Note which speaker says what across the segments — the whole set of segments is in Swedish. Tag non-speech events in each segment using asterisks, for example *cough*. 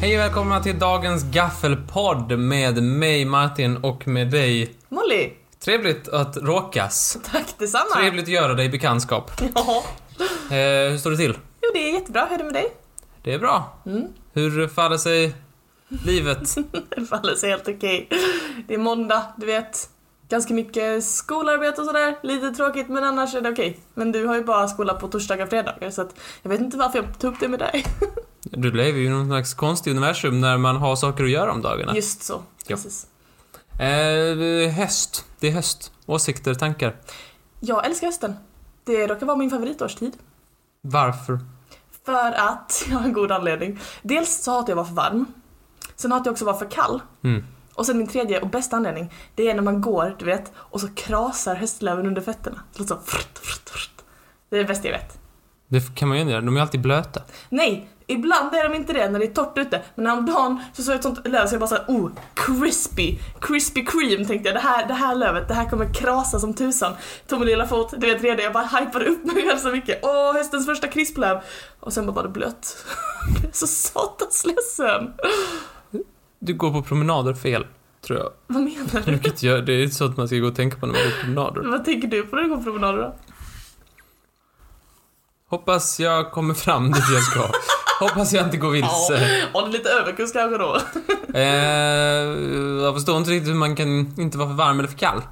Speaker 1: Hej och välkomna till dagens gaffelpodd med mig Martin och med dig.
Speaker 2: Molly,
Speaker 1: Trevligt att råkas.
Speaker 2: tack detsamma.
Speaker 1: Trevligt att göra dig bekantskap.
Speaker 2: Ja.
Speaker 1: Eh, hur står det till?
Speaker 2: Jo, det är jättebra. Hur är det med dig?
Speaker 1: Det är bra.
Speaker 2: Mm.
Speaker 1: Hur faller sig livet?
Speaker 2: Det faller sig helt okej. Det är måndag, du vet. Ganska mycket skolarbete och sådär. Lite tråkigt, men annars är det okej. Men du har ju bara skola på torsdagar och fredagar, så att jag vet inte varför jag tog upp det med dig.
Speaker 1: Du lever ju i någon slags konstig universum när man har saker att göra om dagarna.
Speaker 2: Just så. Precis.
Speaker 1: Eh, höst. Det är höst. Åsikter, tankar.
Speaker 2: Jag älskar hösten. Det råkar vara min favoritårstid.
Speaker 1: Varför?
Speaker 2: För att, *laughs* jag har en god anledning. Dels så hatar jag att vara för varm. Sen hatar jag också att vara för kall.
Speaker 1: Mm.
Speaker 2: Och sen min tredje och bästa anledning, det är när man går, du vet, och så krasar höstlöven under fötterna. Det låter så frutt, frutt, frutt. Det är det bästa jag vet.
Speaker 1: Det kan man ju göra. De är alltid blöta.
Speaker 2: Nej, ibland är de inte det när det är torrt ute, men häromdagen så såg jag ett sånt löv så jag bara såhär, oh, crispy, crispy cream tänkte jag, det här, det här lövet, det här kommer krasa som tusan. Tog min lilla fot, du vet redan, jag bara hypade upp mig själv så mycket. Åh, höstens första crisplöv! Och sen bara var det blött. *laughs* Jag blev så satans ledsen.
Speaker 1: Du går på promenader fel, tror jag.
Speaker 2: Vad menar du?
Speaker 1: Vilket gör, det är inte så att man ska gå och tänka på när man går på promenader.
Speaker 2: Vad tänker du på när du går på promenader då?
Speaker 1: Hoppas jag kommer fram dit jag ska. Hoppas jag inte går vilse.
Speaker 2: Ja, och det är lite överkurs kanske då.
Speaker 1: Eh, jag förstår inte riktigt hur man kan inte vara för varm eller för kall.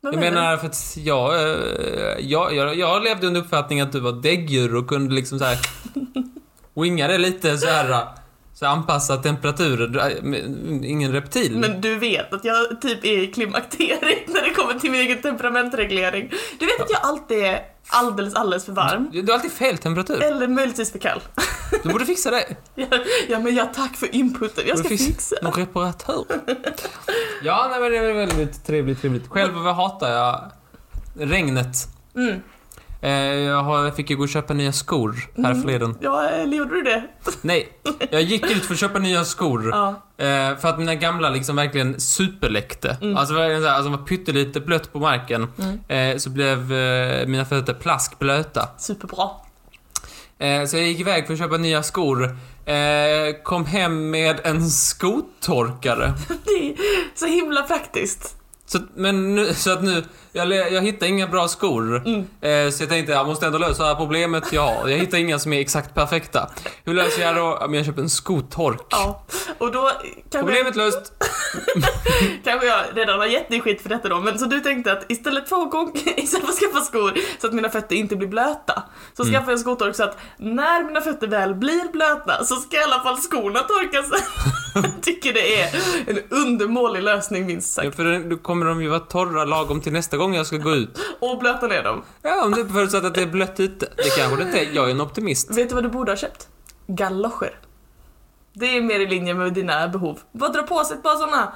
Speaker 2: Vad
Speaker 1: Jag menar för att jag, eh, jag, jag, jag levde under uppfattningen att du var däggdjur och kunde liksom så
Speaker 2: *laughs*
Speaker 1: här winga det lite så här. eh, Så anpassa temperaturen. Du är- men Ingen reptil.
Speaker 2: Men du vet att jag typ är i klimakteriet när det kommer till min egen temperamentreglering. Du vet att jag alltid är alldeles, alldeles för varm.
Speaker 1: Du har alltid fel temperatur.
Speaker 2: Eller möjligtvis för kall.
Speaker 1: Du borde fixa det.
Speaker 2: Ja, ja men ja, tack för inputen. Jag ska
Speaker 1: Borde
Speaker 2: fixa.
Speaker 1: någon
Speaker 2: *laughs*
Speaker 1: reparatör. ja, nej, men det är väldigt trevligt, trevligt. Själv vad hatar jag regnet.
Speaker 2: Mm.
Speaker 1: Eh, Jag har- fick ju gå och köpa nya skor här förleden.
Speaker 2: Ja, eller gjorde du det?
Speaker 1: Nej, jag gick ut för att köpa nya skor.
Speaker 2: Ja.
Speaker 1: Eh, För att mina gamla liksom verkligen superläckte. Alltså verkligen såhär, alltså de var pyttelite blött på marken. Eh, Så blev eh, mina fötter plaskblöta.
Speaker 2: Superbra. *laughs*
Speaker 1: Eh, Så jag gick iväg för att köpa nya skor. Eh, Kom hem med en skotorkare.
Speaker 2: Det är så himla praktiskt.
Speaker 1: Så, att- men nu, så att nu, jag, le- jag hittar inga bra skor.
Speaker 2: Mm.
Speaker 1: Eh, så jag tänkte jag måste ändå lösa det här problemet jag har. Jag hittar inga som är exakt perfekta. Hur löser jag det då? Ja, men jag köper en skotork.
Speaker 2: Ja. Och då kanske,
Speaker 1: Problemet löst.
Speaker 2: kanske jag redan har gett dig skit för detta då, men så du tänkte att istället för att, gå, *laughs* istället för att skaffa skor så att mina fötter inte blir blöta, så skaffar jag en skotork så att när mina fötter väl blir blöta så ska i alla fall skorna torka sig. jag *laughs* tycker det är en undermålig lösning minst
Speaker 1: Ja,
Speaker 2: sagt.
Speaker 1: för då kommer de ju vara torra lagom till nästa gång jag ska gå ut.
Speaker 2: Och blöta ner dem.
Speaker 1: Ja, om det är förutsatt att det är blött ute. Det kanske det inte är. Jag är en optimist.
Speaker 2: Vet du vad du borde ha köpt? Galoscher. Det är mer i linje med dina behov. Bara dra på sig ett par såna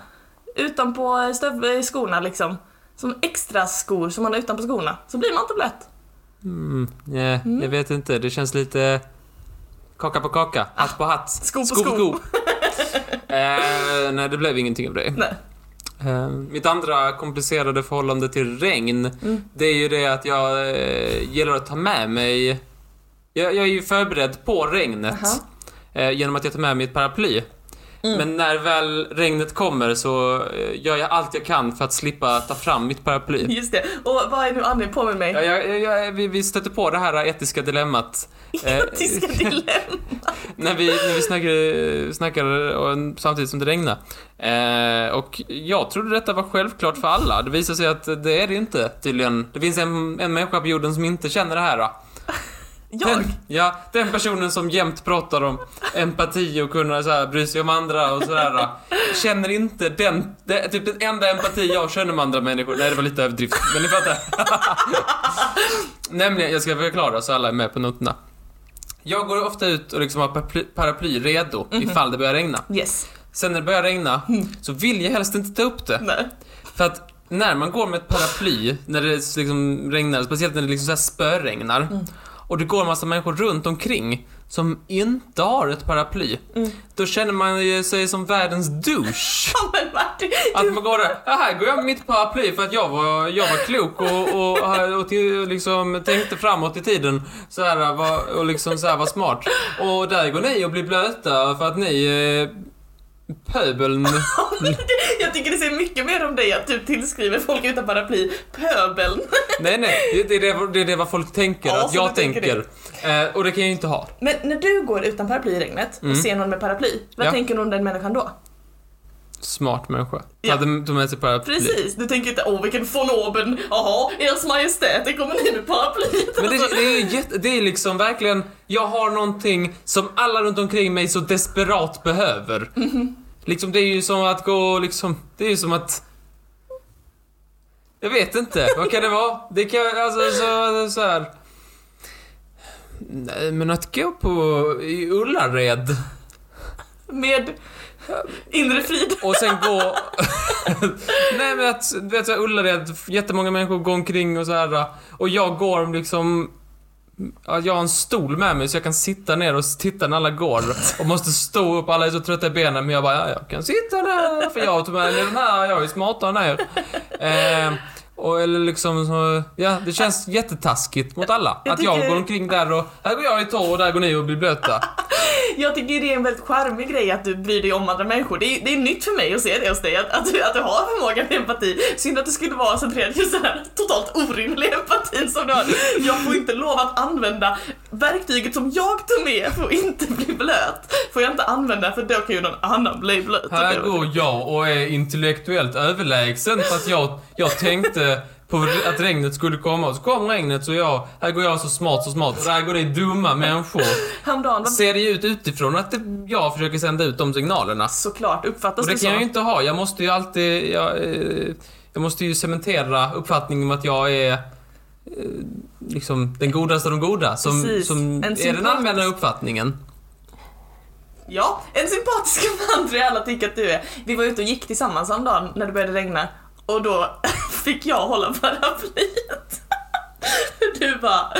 Speaker 2: utanpå stöv, eh, skorna liksom. Som extra skor som man har utanpå skorna. Så blir man inte blöt.
Speaker 1: Mm, nej, jag vet inte. Det känns lite... Kaka på kaka, hatt på hatt,
Speaker 2: Ah, sko på sko. *laughs*
Speaker 1: eh, nej, det blev ingenting av det.
Speaker 2: Nej.
Speaker 1: Eh, mitt andra komplicerade förhållande till regn,
Speaker 2: Mm.
Speaker 1: det är ju det att jag eh, gillar att ta med mig... Jag, jag är ju förberedd på regnet
Speaker 2: Aha. Mm.
Speaker 1: eh, genom att jag tar med mig ett paraply. Men när väl regnet kommer så eh, gör jag allt jag kan för att slippa ta fram mitt paraply.
Speaker 2: *laughs* Just det. Och vad är nu anledningen? Påminn mig.
Speaker 1: Ja,
Speaker 2: *laughs*
Speaker 1: Jag, jag, jag, vi, vi stötte på det här etiska dilemmat eh,
Speaker 2: Etiska
Speaker 1: *laughs*
Speaker 2: dilemma.
Speaker 1: när vi, när vi snackade, snackade och, samtidigt som det regnade. Eh, och jag trodde detta var självklart för alla. Det visar sig att det är det inte tydligen. Det finns en, en människa på jorden som inte känner det här. Då.
Speaker 2: Jag?
Speaker 1: Den, ja, den personen som jämt pratar om empati och kunna så här, bry sig om andra och sådär. då. Känner inte den, det, typ den enda empati jag känner med andra människor. Nej, det var lite överdrift, men ni fattar. Nämligen, jag ska förklara så alla är med på noterna. Jag går ofta ut och liksom har paraply, paraply redo ifall det börjar regna.
Speaker 2: Yes.
Speaker 1: Sen när det börjar regna så vill jag helst inte ta upp det.
Speaker 2: Nej.
Speaker 1: För att när man går med ett paraply, när det liksom regnar, speciellt när det liksom så här spöregnar, och det går en massa människor runt omkring som inte har ett paraply, då känner man ju sig som världens douche.
Speaker 2: Ja, men Martin,
Speaker 1: Att
Speaker 2: du,
Speaker 1: man går där, "Ah, här går jag med mitt paraply för att jag var, jag var klok och, och, och till, liksom, tänkte framåt i tiden så här, var, och liksom så här var smart. Och där går ni och blir blöta för att ni, eh, pöbeln,
Speaker 2: jag tycker det säger mycket mer om dig att du tillskriver folk utan paraply pöbeln. *laughs*
Speaker 1: nej nej, det, det, är det, det är det vad folk tänker
Speaker 2: Ja,
Speaker 1: att
Speaker 2: så
Speaker 1: jag
Speaker 2: du tänker
Speaker 1: tänker. Eh, och det kan jag ju inte ha.
Speaker 2: Men när du går utan paraply i regnet och
Speaker 1: Mm.
Speaker 2: ser någon med paraply, vad
Speaker 1: Ja.
Speaker 2: tänker du om den människan då?
Speaker 1: Smart människa.
Speaker 2: Ja.
Speaker 1: Hade tog med sig paraply.
Speaker 2: Precis, du tänker inte åh vilken von oben, jaha, ers majestät, det kommer ni med paraplyet. Alltså,
Speaker 1: Men det, det, är ju jätte, det är liksom verkligen, jag har någonting som alla runt omkring mig så desperat behöver.
Speaker 2: Mhm.
Speaker 1: Liksom det är ju som att gå liksom, det är ju som att jag vet inte, vad kan det vara? Det kan, alltså så, så här. Nej, men att gå på i Ullared
Speaker 2: Med inre frid.
Speaker 1: och sen gå... *laughs* Nej men att, du vet såhär Ullared, jättemånga människor går omkring och så här och jag går liksom... ja, Jag har en stol med mig så jag kan sitta ner och titta när alla går och måste stå upp, alla är så trötta i benen men jag bara, ja, jag kan sitta där för jag tog med mig den här, jag är ju smartare än er. Eh, och eller liksom så, ja det känns jättetaskigt mot alla.
Speaker 2: Jag
Speaker 1: att jag
Speaker 2: tycker-
Speaker 1: går omkring där och, här går jag i tå och där går ni och blir blöta.
Speaker 2: Jag tycker det är en väldigt charmig grej att du bryr dig om andra människor. Det är, det är nytt för mig att se det hos dig, att, att, du, att du har förmågan till empati. Synd att du skulle vara centrerad just den här totalt orimlig empatin som du har. Jag får inte lov att använda verktyget som jag tog med för att inte bli blöt. Får jag inte använda för då kan ju någon annan bli blöt.
Speaker 1: Här går jag och är intellektuellt överlägsen för att jag, jag tänkte på att regnet skulle komma och så kom regnet så jag, här går jag så smart, så smart. Och Där går det dumma människor.
Speaker 2: Häromdagen var
Speaker 1: Ser det ju ut utifrån att det, jag försöker sända ut de signalerna.
Speaker 2: såklart uppfattas
Speaker 1: Och det
Speaker 2: det,
Speaker 1: kan jag ju
Speaker 2: så.
Speaker 1: inte ha. Jag måste ju alltid, jag, eh, jag måste ju cementera uppfattningen om att jag är eh, liksom den godaste av de goda som,
Speaker 2: Precis.
Speaker 1: som
Speaker 2: En
Speaker 1: är den
Speaker 2: sympatisk-
Speaker 1: allmänna uppfattningen.
Speaker 2: Ja, en sympatisk *laughs* man tror jag alla tycker att du är. Vi var ute och gick tillsammans häromdagen när det började regna och då *laughs* fick jag hålla paraplyet. *laughs* Du bara,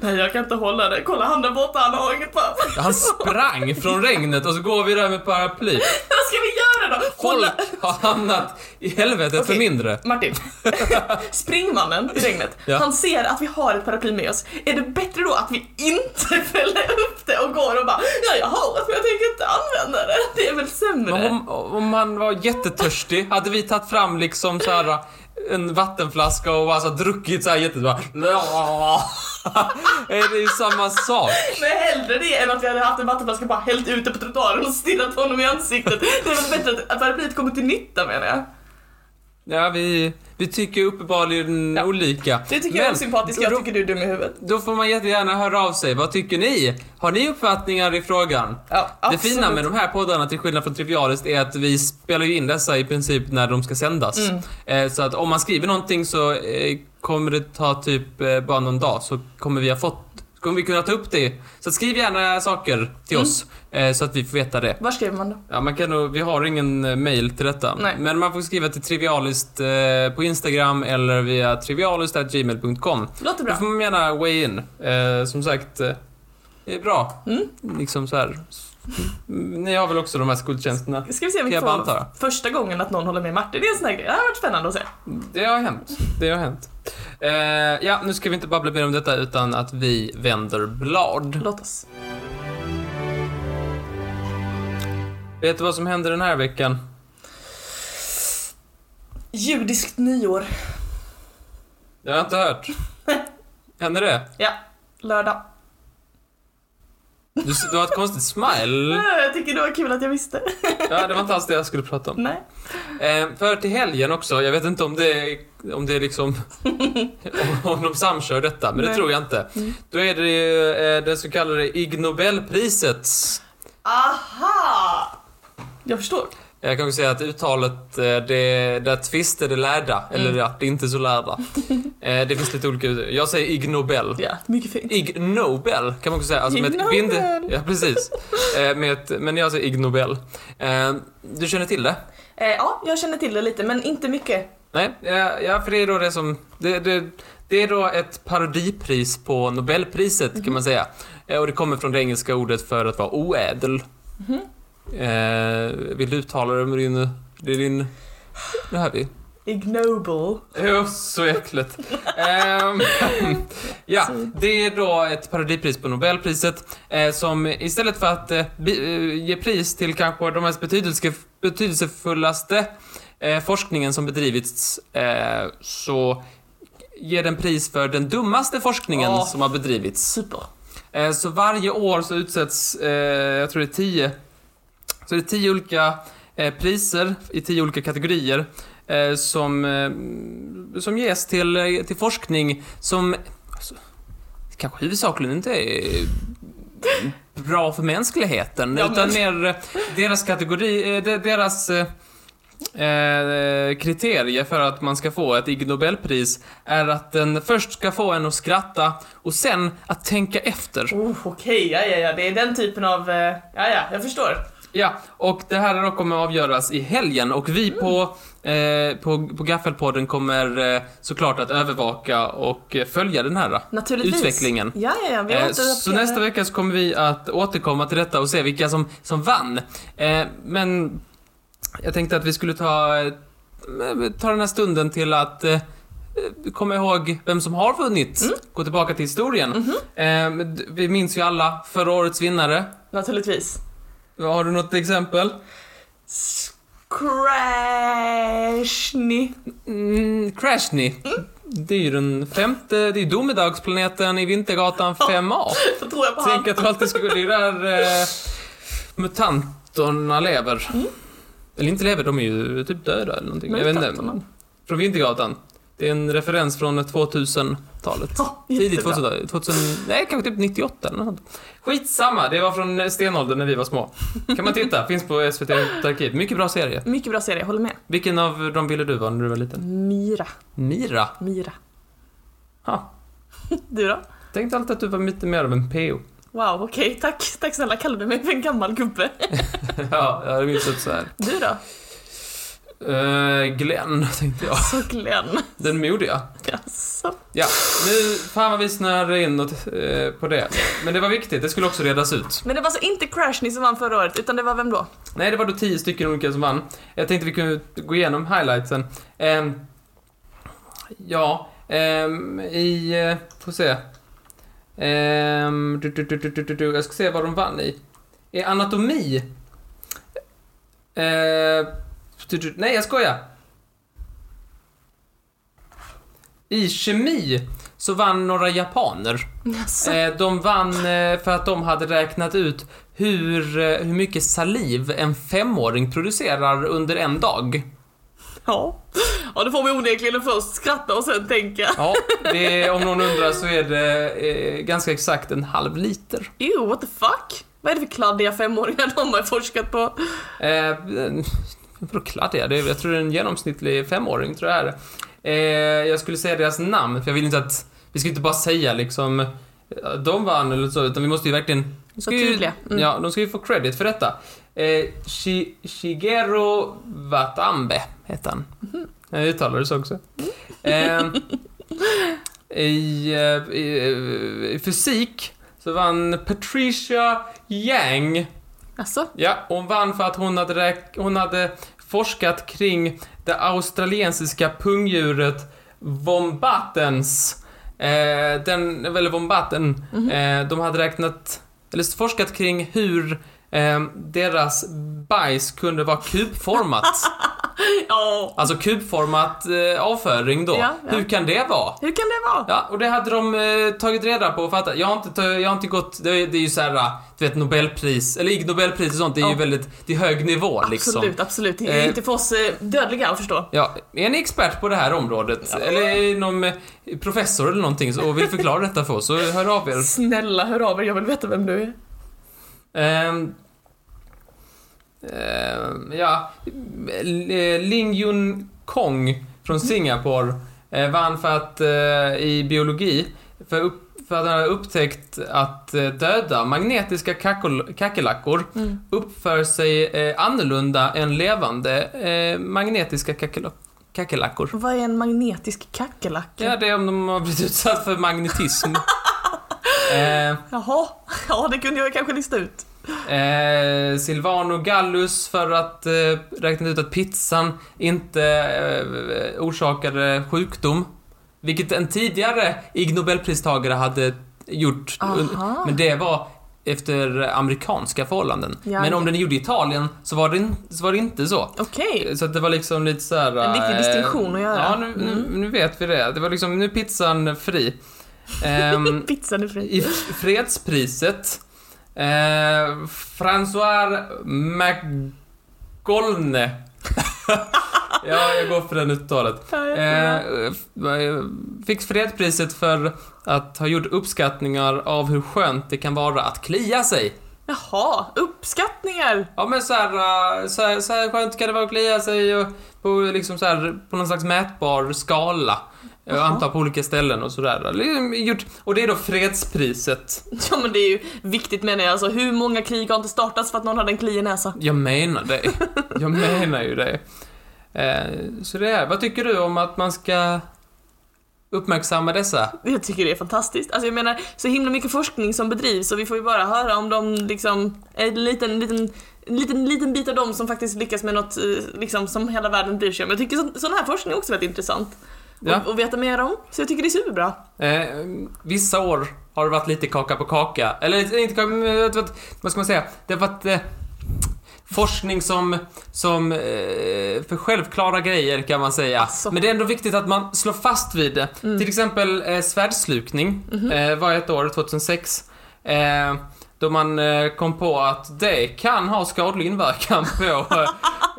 Speaker 2: nej jag kan inte hålla det, kolla han där borta, han har inget paraply.
Speaker 1: Han sprang från regnet och så går vi där med paraply.
Speaker 2: *laughs* Vad ska vi göra då?
Speaker 1: Folk
Speaker 2: Hålla...
Speaker 1: har hamnat i helvetet för
Speaker 2: Okej.
Speaker 1: mindre.
Speaker 2: Martin, *laughs* springmannen i regnet,
Speaker 1: Ja.
Speaker 2: han ser att vi har ett paraply med oss. Är det bättre då att vi inte *laughs* fäller upp det och går och bara, ja jag har det men jag tänker inte använda det. Det är väl sämre?
Speaker 1: Men om, om han var jättetörstig, hade vi tagit fram liksom så här en vattenflaska och bara så här, druckit så här jätte... Bara, *laughs* är det ju samma sak?
Speaker 2: Men hellre det än att vi hade haft en vattenflaska och bara hällt ut det på trottoaren och stirrat honom i ansiktet. Det var bättre att- att paraplyet kommer till nytta menar jag.
Speaker 1: Ja, vi, vi tycker uppenbarligen olika.
Speaker 2: Det tycker jag
Speaker 1: Men
Speaker 2: är sympatiskt, jag
Speaker 1: då-
Speaker 2: tycker du är dum i huvudet.
Speaker 1: Då får man jättegärna höra av sig. Vad tycker ni? Har ni uppfattningar i frågan?
Speaker 2: Ja,
Speaker 1: Det fina med de här poddarna, till skillnad från Trivialist, är att vi spelar ju in dessa i princip när de ska sändas. Eh, Så att om man skriver någonting så eh, kommer det ta typ eh, bara någon dag så kommer vi ha fått, så kommer vi kunna ta upp det. Så att skriv gärna saker till oss eh, så att vi får veta det.
Speaker 2: Var skriver man då?
Speaker 1: Ja, man kan nog, vi har ingen eh, mail till detta.
Speaker 2: Nej.
Speaker 1: Men man får skriva till Trivialist eh, på Instagram eller via trivialist.gmail.com.
Speaker 2: Låter
Speaker 1: Då
Speaker 2: bra.
Speaker 1: får man gärna weigh in. Eh, som sagt, eh, det är bra.
Speaker 2: Mm.
Speaker 1: Liksom så här. Mm, Ni har väl också de här skoltjänsterna?
Speaker 2: Ska vi se om vi
Speaker 1: Kan jag bara
Speaker 2: får
Speaker 1: anta?
Speaker 2: första gången att någon håller med Martin. Det är en sån här grej. Det har varit spännande att se.
Speaker 1: Det har hänt. Det har hänt. Eh, ja, nu ska vi inte babbla mer om detta utan att vi vänder blad.
Speaker 2: Låt oss.
Speaker 1: Vet du vad som hände den här veckan?
Speaker 2: Judiskt nyår.
Speaker 1: Jag har inte
Speaker 2: *laughs*
Speaker 1: hört. Hände det?
Speaker 2: Ja, lördag.
Speaker 1: Du, du har ett konstigt smile.
Speaker 2: Nej, Jag tycker det var kul att jag visste.
Speaker 1: Ja, det var inte alls det jag skulle prata om.
Speaker 2: Nej.
Speaker 1: Eh, för till helgen också, jag vet inte om det är, om det är liksom...
Speaker 2: *laughs*
Speaker 1: om, om de samkör detta, men det
Speaker 2: Nej.
Speaker 1: tror jag inte.
Speaker 2: Mm.
Speaker 1: Då är det ju eh, det så kallade Ig Nobelpriset.
Speaker 2: Aha! Jag förstår.
Speaker 1: Jag kan också säga att uttalet, eh, det, där tvister det lärda,
Speaker 2: Mm.
Speaker 1: eller ja, det är inte så
Speaker 2: *laughs*
Speaker 1: lärda. Eh, det finns lite olika ut- Jag säger Ig Nobel.
Speaker 2: Ja, mycket fint.
Speaker 1: Ig Nobel kan man också säga. Alltså
Speaker 2: Ig
Speaker 1: med ett
Speaker 2: Nobel.
Speaker 1: binde... Ja, precis. Eh, med ett, men jag säger Ig Nobel. Eh, du känner till det?
Speaker 2: Eh, ja, jag känner till det lite, men inte mycket.
Speaker 1: Nej, ja, ja, för det är då det som... Det, det, det är då ett parodipris på Nobelpriset kan man säga. Eh, Och det kommer från det engelska ordet för att vara oädel. Eh, vill du uttala det med din... Det är din... Det här vi.
Speaker 2: Ignoble.
Speaker 1: Jo, oh, så äckligt. Ehm, *laughs* ja, det är då ett parodipris på Nobelpriset eh, som istället för att eh, bi- eh, ge pris till kanske de mest betydelse, betydelsefullaste eh, forskningen som bedrivits eh, så ger den pris för den dummaste forskningen
Speaker 2: Åh.
Speaker 1: som har bedrivits.
Speaker 2: Super.
Speaker 1: Eh, Så varje år så utsätts, eh, jag tror det är tio, så det är tio olika eh, priser i tio olika kategorier eh, som, eh, som ges till, eh, till forskning som alltså, kanske huvudsakligen inte är bra för mänskligheten
Speaker 2: Ja,
Speaker 1: utan
Speaker 2: men-
Speaker 1: mer eh, deras kategori, eh, de- deras eh, eh, kriterier för att man ska få ett Ig Nobelpris är att den först ska få en att skratta och sen att tänka efter.
Speaker 2: Oh, Okej, ja, ja, ja. Det är den typen av... eh, Ja, ja, jag förstår.
Speaker 1: Ja, och det här då kommer avgöras i helgen och vi på, eh, på, på Gaffelpodden kommer eh, såklart att övervaka och eh, följa den här eh,
Speaker 2: Naturligtvis.
Speaker 1: utvecklingen.
Speaker 2: Ja, ja, ja. Vi har
Speaker 1: Eh,
Speaker 2: inte
Speaker 1: Så nästa vecka så kommer vi att återkomma till detta och se vilka som, som vann. Eh, Men jag tänkte att vi skulle ta, eh, ta den här stunden till att eh, komma ihåg vem som har vunnit.
Speaker 2: Mm.
Speaker 1: Gå tillbaka till historien.
Speaker 2: Mm-hmm.
Speaker 1: Eh, men d- Vi minns ju alla förra årets vinnare.
Speaker 2: Naturligtvis.
Speaker 1: Har du något exempel?
Speaker 2: Crashny.
Speaker 1: Mm, Crashny. Det är ju den femte, det är domedagsplaneten i Vintergatan 5A.
Speaker 2: *laughs* Då tror jag på
Speaker 1: Tänk
Speaker 2: han.
Speaker 1: att du alltid skulle... Det är där eh, mutanterna lever.
Speaker 2: Mm.
Speaker 1: Eller inte lever, de är ju typ döda eller någonting. Jag vet inte.
Speaker 2: Mutanterna.
Speaker 1: Från Vintergatan. Det är en referens från 2000-talet.
Speaker 2: Ja,
Speaker 1: Tidigt
Speaker 2: jättebra.
Speaker 1: 2000, 2000, nej kanske typ 98 eller något. Skitsamma, det var från eh, stenåldern när vi var små. Kan man titta, finns på SVT Arkiv. Mycket bra serie.
Speaker 2: Mycket bra serie, jag håller med.
Speaker 1: Vilken av dem ville du vara när du var liten?
Speaker 2: Mira.
Speaker 1: Mira.
Speaker 2: Mira.
Speaker 1: Ha.
Speaker 2: Du då?
Speaker 1: Tänkte alltid att du var lite mer av en PO.
Speaker 2: Wow, okej. Tack. Tack snälla. Kallade du mig för en gammal gubbe?
Speaker 1: *laughs* ja, jag hade minst så här.
Speaker 2: Du då?
Speaker 1: Eh, Glenn, *laughs* tänkte jag.
Speaker 2: Så Glenn.
Speaker 1: Den modiga.
Speaker 2: Jaså?
Speaker 1: Ja, nu, fan vad vi snöade in något, eh, på det. Men det var viktigt, det skulle också redas ut.
Speaker 2: Men det var alltså inte Crashny som vann förra året, utan det var vem då?
Speaker 1: Nej, det var då tio stycken olika som vann. Jag tänkte vi kunde gå igenom highlightsen. Ehm, ja, ehm, i... Eh, får se. Ehm, du, du, du, du, du, du, du, jag ska se vad de vann i. I anatomi. Ehm, du, du, nej, jag skojar. I kemi så vann några japaner.
Speaker 2: Jaså?
Speaker 1: Eh, de vann eh, för att de hade räknat ut hur, eh, hur mycket saliv en femåring producerar under en dag.
Speaker 2: Ja. Ja, då får vi onekligen först skratta och sen tänka.
Speaker 1: Ja, det är, om någon undrar så är det eh, ganska exakt en halv liter.
Speaker 2: Ew, what the fuck? Vad är det för kladdiga femåringar de har forskat på?
Speaker 1: Eh, *laughs* eh, Vadå kladdiga? Det är, jag tror det är en genomsnittlig femåring, tror jag det är. Eh, jag skulle säga deras namn, för jag vill inte att... Vi ska inte bara säga liksom eh, de vann eller så, utan vi måste ju verkligen... vi Ska ju,
Speaker 2: tydliga. Mm.
Speaker 1: Ja, de ska ju få credit för detta. Eh, Shi, Shigeru Watambe hette han. Jag uttalar det så också. Eh, i, eh, i, I fysik så vann Patricia Yang
Speaker 2: Alltså,
Speaker 1: Ja, hon vann för att hon hade, räk- hon hade forskat kring det australiensiska pungdjuret Wombatens. Eh, den, eller Wombaten.
Speaker 2: Mhm.
Speaker 1: Eh, de hade räknat, eller forskat kring hur eh, deras bajs kunde vara
Speaker 2: *laughs*
Speaker 1: kubformat.
Speaker 2: ja.
Speaker 1: alltså kubformat eh, avföring då.
Speaker 2: Ja, ja.
Speaker 1: Hur kan det vara?
Speaker 2: Hur kan det vara?
Speaker 1: Ja, och det hade de eh, tagit reda på och fattat. Jag har inte, ta- jag har inte gått, det är, det är ju såhär, du vet Nobelpris, eller Ig Nobelpris och sånt, det är ju
Speaker 2: Ja.
Speaker 1: väldigt, det är hög nivå liksom.
Speaker 2: Absolut, absolut. Det
Speaker 1: Eh.
Speaker 2: är inte för oss eh, dödliga att förstå.
Speaker 1: Ja, är ni expert på det här området, eller är någon eh, professor eller någonting så- och vill förklara detta för oss, så hör av er.
Speaker 2: Snälla, hör av er. Jag vill veta vem du är.
Speaker 1: Ehm, ehm, ja, eh, Ling Yun Kong från Singapore eh, vann för att eh, i biologi för, upp, för att han hade upptäckt att eh, döda magnetiska kackol- kackerlackor uppför sig eh, annorlunda än levande eh, magnetiska kackerlo- kackerlackor.
Speaker 2: Vad är en magnetisk kackerlacka?
Speaker 1: Ja, det är om de har blivit utsatt för magnetism. Eh,
Speaker 2: Jaha, ja det kunde jag kanske lista ut.
Speaker 1: Eh, Silvano Gallus för att eh, räkna ut att pizzan inte eh, orsakade sjukdom. Vilket en tidigare Ig Nobelpristagare hade gjort.
Speaker 2: Aha.
Speaker 1: Men det var efter amerikanska förhållanden.
Speaker 2: Ja.
Speaker 1: Men om den gjorde i Italien så var, det in, så var det inte så.
Speaker 2: Okej.
Speaker 1: Så att det var liksom lite så här.
Speaker 2: En viktig
Speaker 1: eh,
Speaker 2: distinktion att göra. Mm.
Speaker 1: Ja, nu, nu, nu vet vi det. Det var liksom, nu är pizzan fri.
Speaker 2: *laughs*
Speaker 1: Ehm,
Speaker 2: Pizzan är fri.
Speaker 1: i fredspriset. Eh, François McGolne. *laughs* ja, jag går för den uttalet. Eh, f- fick fredspriset för att ha gjort uppskattningar av hur skönt det kan vara att klia sig.
Speaker 2: Jaha, uppskattningar. *laughs*
Speaker 1: Ja men så här, eh, så här, så här skönt kan det vara att klia sig och på, liksom så här, på någon slags mätbar skala. Jag antar på olika ställen och sådär. Liksom gjort- Och det är då fredspriset.
Speaker 2: Ja men det är ju viktigt menar jag, alltså hur många krig har inte startats för att någon hade en kli i näsa?
Speaker 1: Jag menar det. Jag menar ju det. Eh, så det är, vad tycker du om att man ska uppmärksamma dessa?
Speaker 2: Jag tycker det är fantastiskt. Alltså jag menar, så himla mycket forskning som bedrivs och vi får ju bara höra om de liksom, en liten, liten en liten, liten bit av dem som faktiskt lyckas med något eh, liksom, som hela världen bryr sig om. Jag tycker så, sån här forskning är också väldigt intressant.
Speaker 1: Ja.
Speaker 2: Och, och veta mer om. Så jag tycker det är superbra.
Speaker 1: Eh, vissa år har det varit lite kaka på kaka. Eller lite- inte kaka, men vet du vad- vad ska man säga? Det har varit eh, forskning som, som eh, för självklara grejer kan man säga.
Speaker 2: Alltså.
Speaker 1: Men det är ändå viktigt att man slår fast vid det. Till exempel eh, svärdslukning eh, var ett år, 2006. Eh, då man eh, kom på att det kan ha skadlig inverkan på,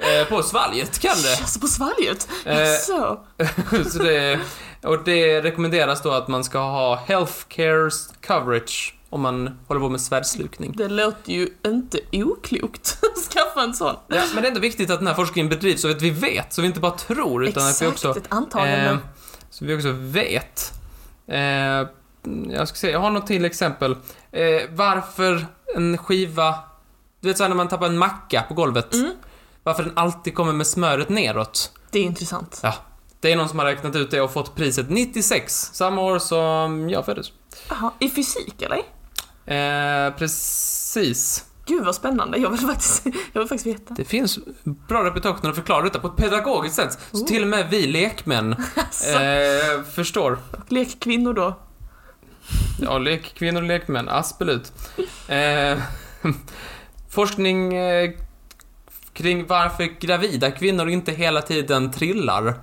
Speaker 1: eh, på svalget kan
Speaker 2: *laughs*
Speaker 1: det.
Speaker 2: Alltså på Alltså, svalget?
Speaker 1: Eh.
Speaker 2: Jaså?
Speaker 1: *laughs* Så det, och det rekommenderas då att man ska ha healthcare coverage om man håller på med svärdslukning.
Speaker 2: Det låter ju inte oklokt. *laughs* Skaffa en sån.
Speaker 1: Ja, men det är ändå viktigt att den här forskningen bedrivs så att vi vet, så vi inte bara tror utan att vi
Speaker 2: Exakt,
Speaker 1: också,
Speaker 2: ett antagande.
Speaker 1: eh, så vi också vet. Eh, jag ska se, jag har något till exempel. Eh, varför en skiva, du vet såhär när man tappar en macka på golvet,
Speaker 2: Mm.
Speaker 1: varför den alltid kommer med smöret neråt.
Speaker 2: Det är intressant.
Speaker 1: Ja, det är någon som har räknat ut det och fått priset 96, samma år som jag föddes.
Speaker 2: Jaha, I fysik eller?
Speaker 1: Eh, precis.
Speaker 2: Gud vad spännande, jag vill faktiskt, jag vill faktiskt veta.
Speaker 1: Det finns bra reportage när de förklarar detta på ett pedagogiskt sätt. Så
Speaker 2: Oh.
Speaker 1: till och med vi lekmän
Speaker 2: Alltså,
Speaker 1: eh, förstår.
Speaker 2: Lekkvinnor då.
Speaker 1: Ja, lekkvinnor och lekmän. Aspelut. Eh, forskning eh, kring varför gravida kvinnor inte hela tiden trillar.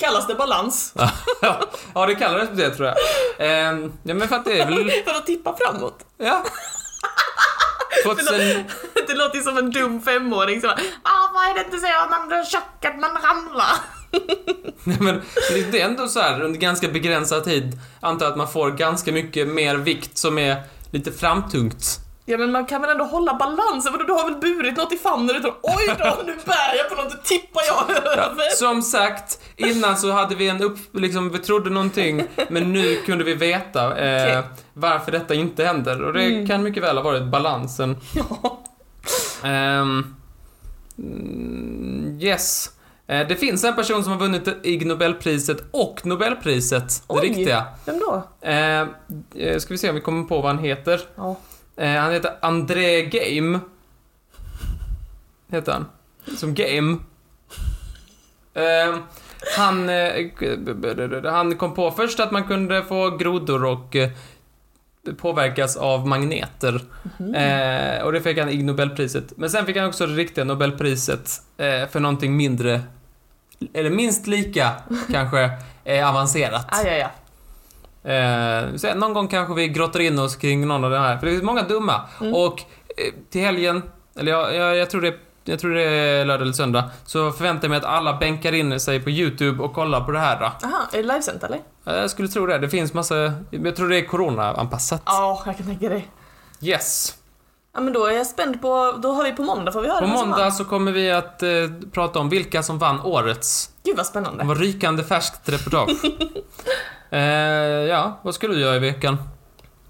Speaker 2: Kallas det balans?
Speaker 1: ja, det kallades det tror jag. Eh, ja, men för att det är väl...
Speaker 2: För att tippa framåt? *laughs*
Speaker 1: Ja. 2000,
Speaker 2: Det låter ju som en dum femåring som bara, ah, vad är det inte säger att man blir tjock att man ramlar?
Speaker 1: Nej, *laughs* men det är ändå så här under ganska begränsad tid antar jag att man får ganska mycket mer vikt som är lite framtungt.
Speaker 2: Ja men man kan väl ändå hålla balansen, vadå du har väl burit något i famnen och du tror oj då nu bär jag på något och tippar jag över.
Speaker 1: Som sagt, innan så hade vi en upp... Liksom, vi trodde någonting, men nu kunde vi veta eh,
Speaker 2: Okej. Mm.
Speaker 1: varför detta inte händer. Och det kan mycket väl ha varit balansen.
Speaker 2: Ja.
Speaker 1: Ehm, mm, yes. Eh, det finns en person som har vunnit Ig Nobelpriset och Nobelpriset, det
Speaker 2: Oj.
Speaker 1: riktiga.
Speaker 2: Vem då?
Speaker 1: Eh, eh, ska vi se om vi kommer på vad han heter.
Speaker 2: Ja.
Speaker 1: Eh, han heter André Game. Heter han. Som Game. Eh, han, eh, han kom på först att man kunde få grodor och eh, påverkas av magneter. Eh, och det fick han Ig Nobelpriset. Men sen fick han också det riktiga Nobelpriset eh, för någonting mindre, eller minst lika kanske, eh, avancerat.
Speaker 2: Aj, aj, aj.
Speaker 1: Eh, så någon gång kanske vi grottar in oss kring någon av de här, för det finns många dumma.
Speaker 2: Mm.
Speaker 1: Och eh, till helgen, eller jag, jag, jag, tror det, jag tror det är lördag eller söndag, så förväntar jag mig att alla bänkar in sig på YouTube och kollar på det här. Då.
Speaker 2: Aha, är det livesänt eller?
Speaker 1: Eh, jag skulle tro det. Det finns massa, jag tror det är corona-anpassat.
Speaker 2: Ja, jag kan tänka det.
Speaker 1: Yes.
Speaker 2: Ja men då är jag spänd på, då har vi på måndag får vi höra
Speaker 1: På
Speaker 2: vem som vann.
Speaker 1: måndag så kommer vi att eh, prata om vilka som vann årets.
Speaker 2: Gud vad
Speaker 1: Det
Speaker 2: spännande.
Speaker 1: var rykande färskt
Speaker 2: *laughs*
Speaker 1: reportage. eh, ja, vad ska du göra i veckan?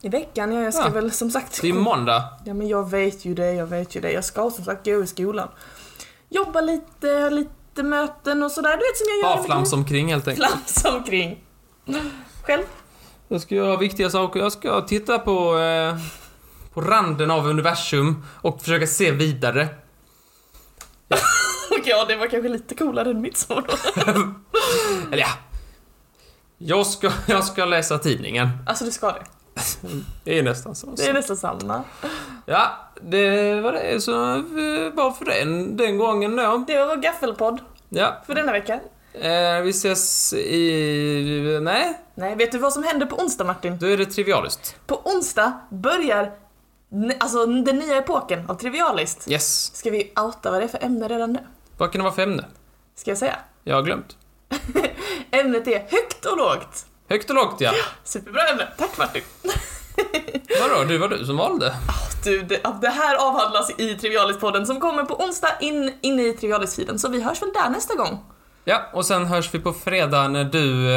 Speaker 2: I veckan, ja, jag ska
Speaker 1: Ja.
Speaker 2: väl som sagt...
Speaker 1: Det är måndag.
Speaker 2: Ja men jag vet ju det, jag vet ju det. Jag ska som sagt gå i skolan. Jobba lite, lite möten och sådär. Du vet som jag gör.
Speaker 1: Bara flams omkring helt enkelt.
Speaker 2: Flams omkring. Själv?
Speaker 1: Jag ska göra viktiga saker. Jag ska titta på, eh, på randen av universum och försöka se vidare.
Speaker 2: Och ja, det var kanske lite coolare än mitt svar då.
Speaker 1: Eller ja. Jag ska, *laughs* jag ska läsa tidningen.
Speaker 2: Alltså du ska det.
Speaker 1: Det är nästan så.
Speaker 2: Det är nästan samma.
Speaker 1: Ja, det var det. Så eh, bara för den, den gången då.
Speaker 2: Det var vår gaffelpodd
Speaker 1: Ja,
Speaker 2: för denna vecka.
Speaker 1: eh, vi ses i... Nej,
Speaker 2: Nej, vet du vad som händer på onsdag Martin?
Speaker 1: då är det trivialist.
Speaker 2: På onsdag börjar n- alltså den nya epoken av Trivialist.
Speaker 1: Yes.
Speaker 2: Ska vi outa vad det är för ämne redan nu?
Speaker 1: Vad kan det vara för ämne?
Speaker 2: Ska jag säga?
Speaker 1: Jag har glömt.
Speaker 2: Ämnet är högt och lågt.
Speaker 1: Högt och lågt ja.
Speaker 2: Superbra ämne. Tack Martin.
Speaker 1: Vadå, det var du som valde.
Speaker 2: Du, det, det här avhandlas i Trivialist-podden som kommer på onsdag in, inne i Trivialist-feeden. Så vi hörs väl där nästa gång.
Speaker 1: Ja, och sen hörs vi på fredag när du... Eh,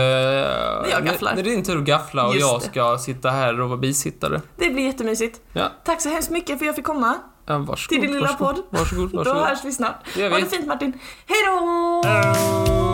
Speaker 2: jag gafflar.
Speaker 1: När, när det är din tur att gaffla och
Speaker 2: Just
Speaker 1: jag
Speaker 2: det.
Speaker 1: ska sitta här och vara bisittare.
Speaker 2: Det blir jättemysigt.
Speaker 1: Ja.
Speaker 2: Tack så hemskt mycket för jag fick komma
Speaker 1: Ja, varsågod.
Speaker 2: till din lilla *laughs*
Speaker 1: varsågod,
Speaker 2: podd.
Speaker 1: Varsågod,
Speaker 2: Då
Speaker 1: varsågod.
Speaker 2: hörs vi snart.
Speaker 1: Det gör vi.
Speaker 2: Ha det fint Martin. Hej då!
Speaker 1: Hej då!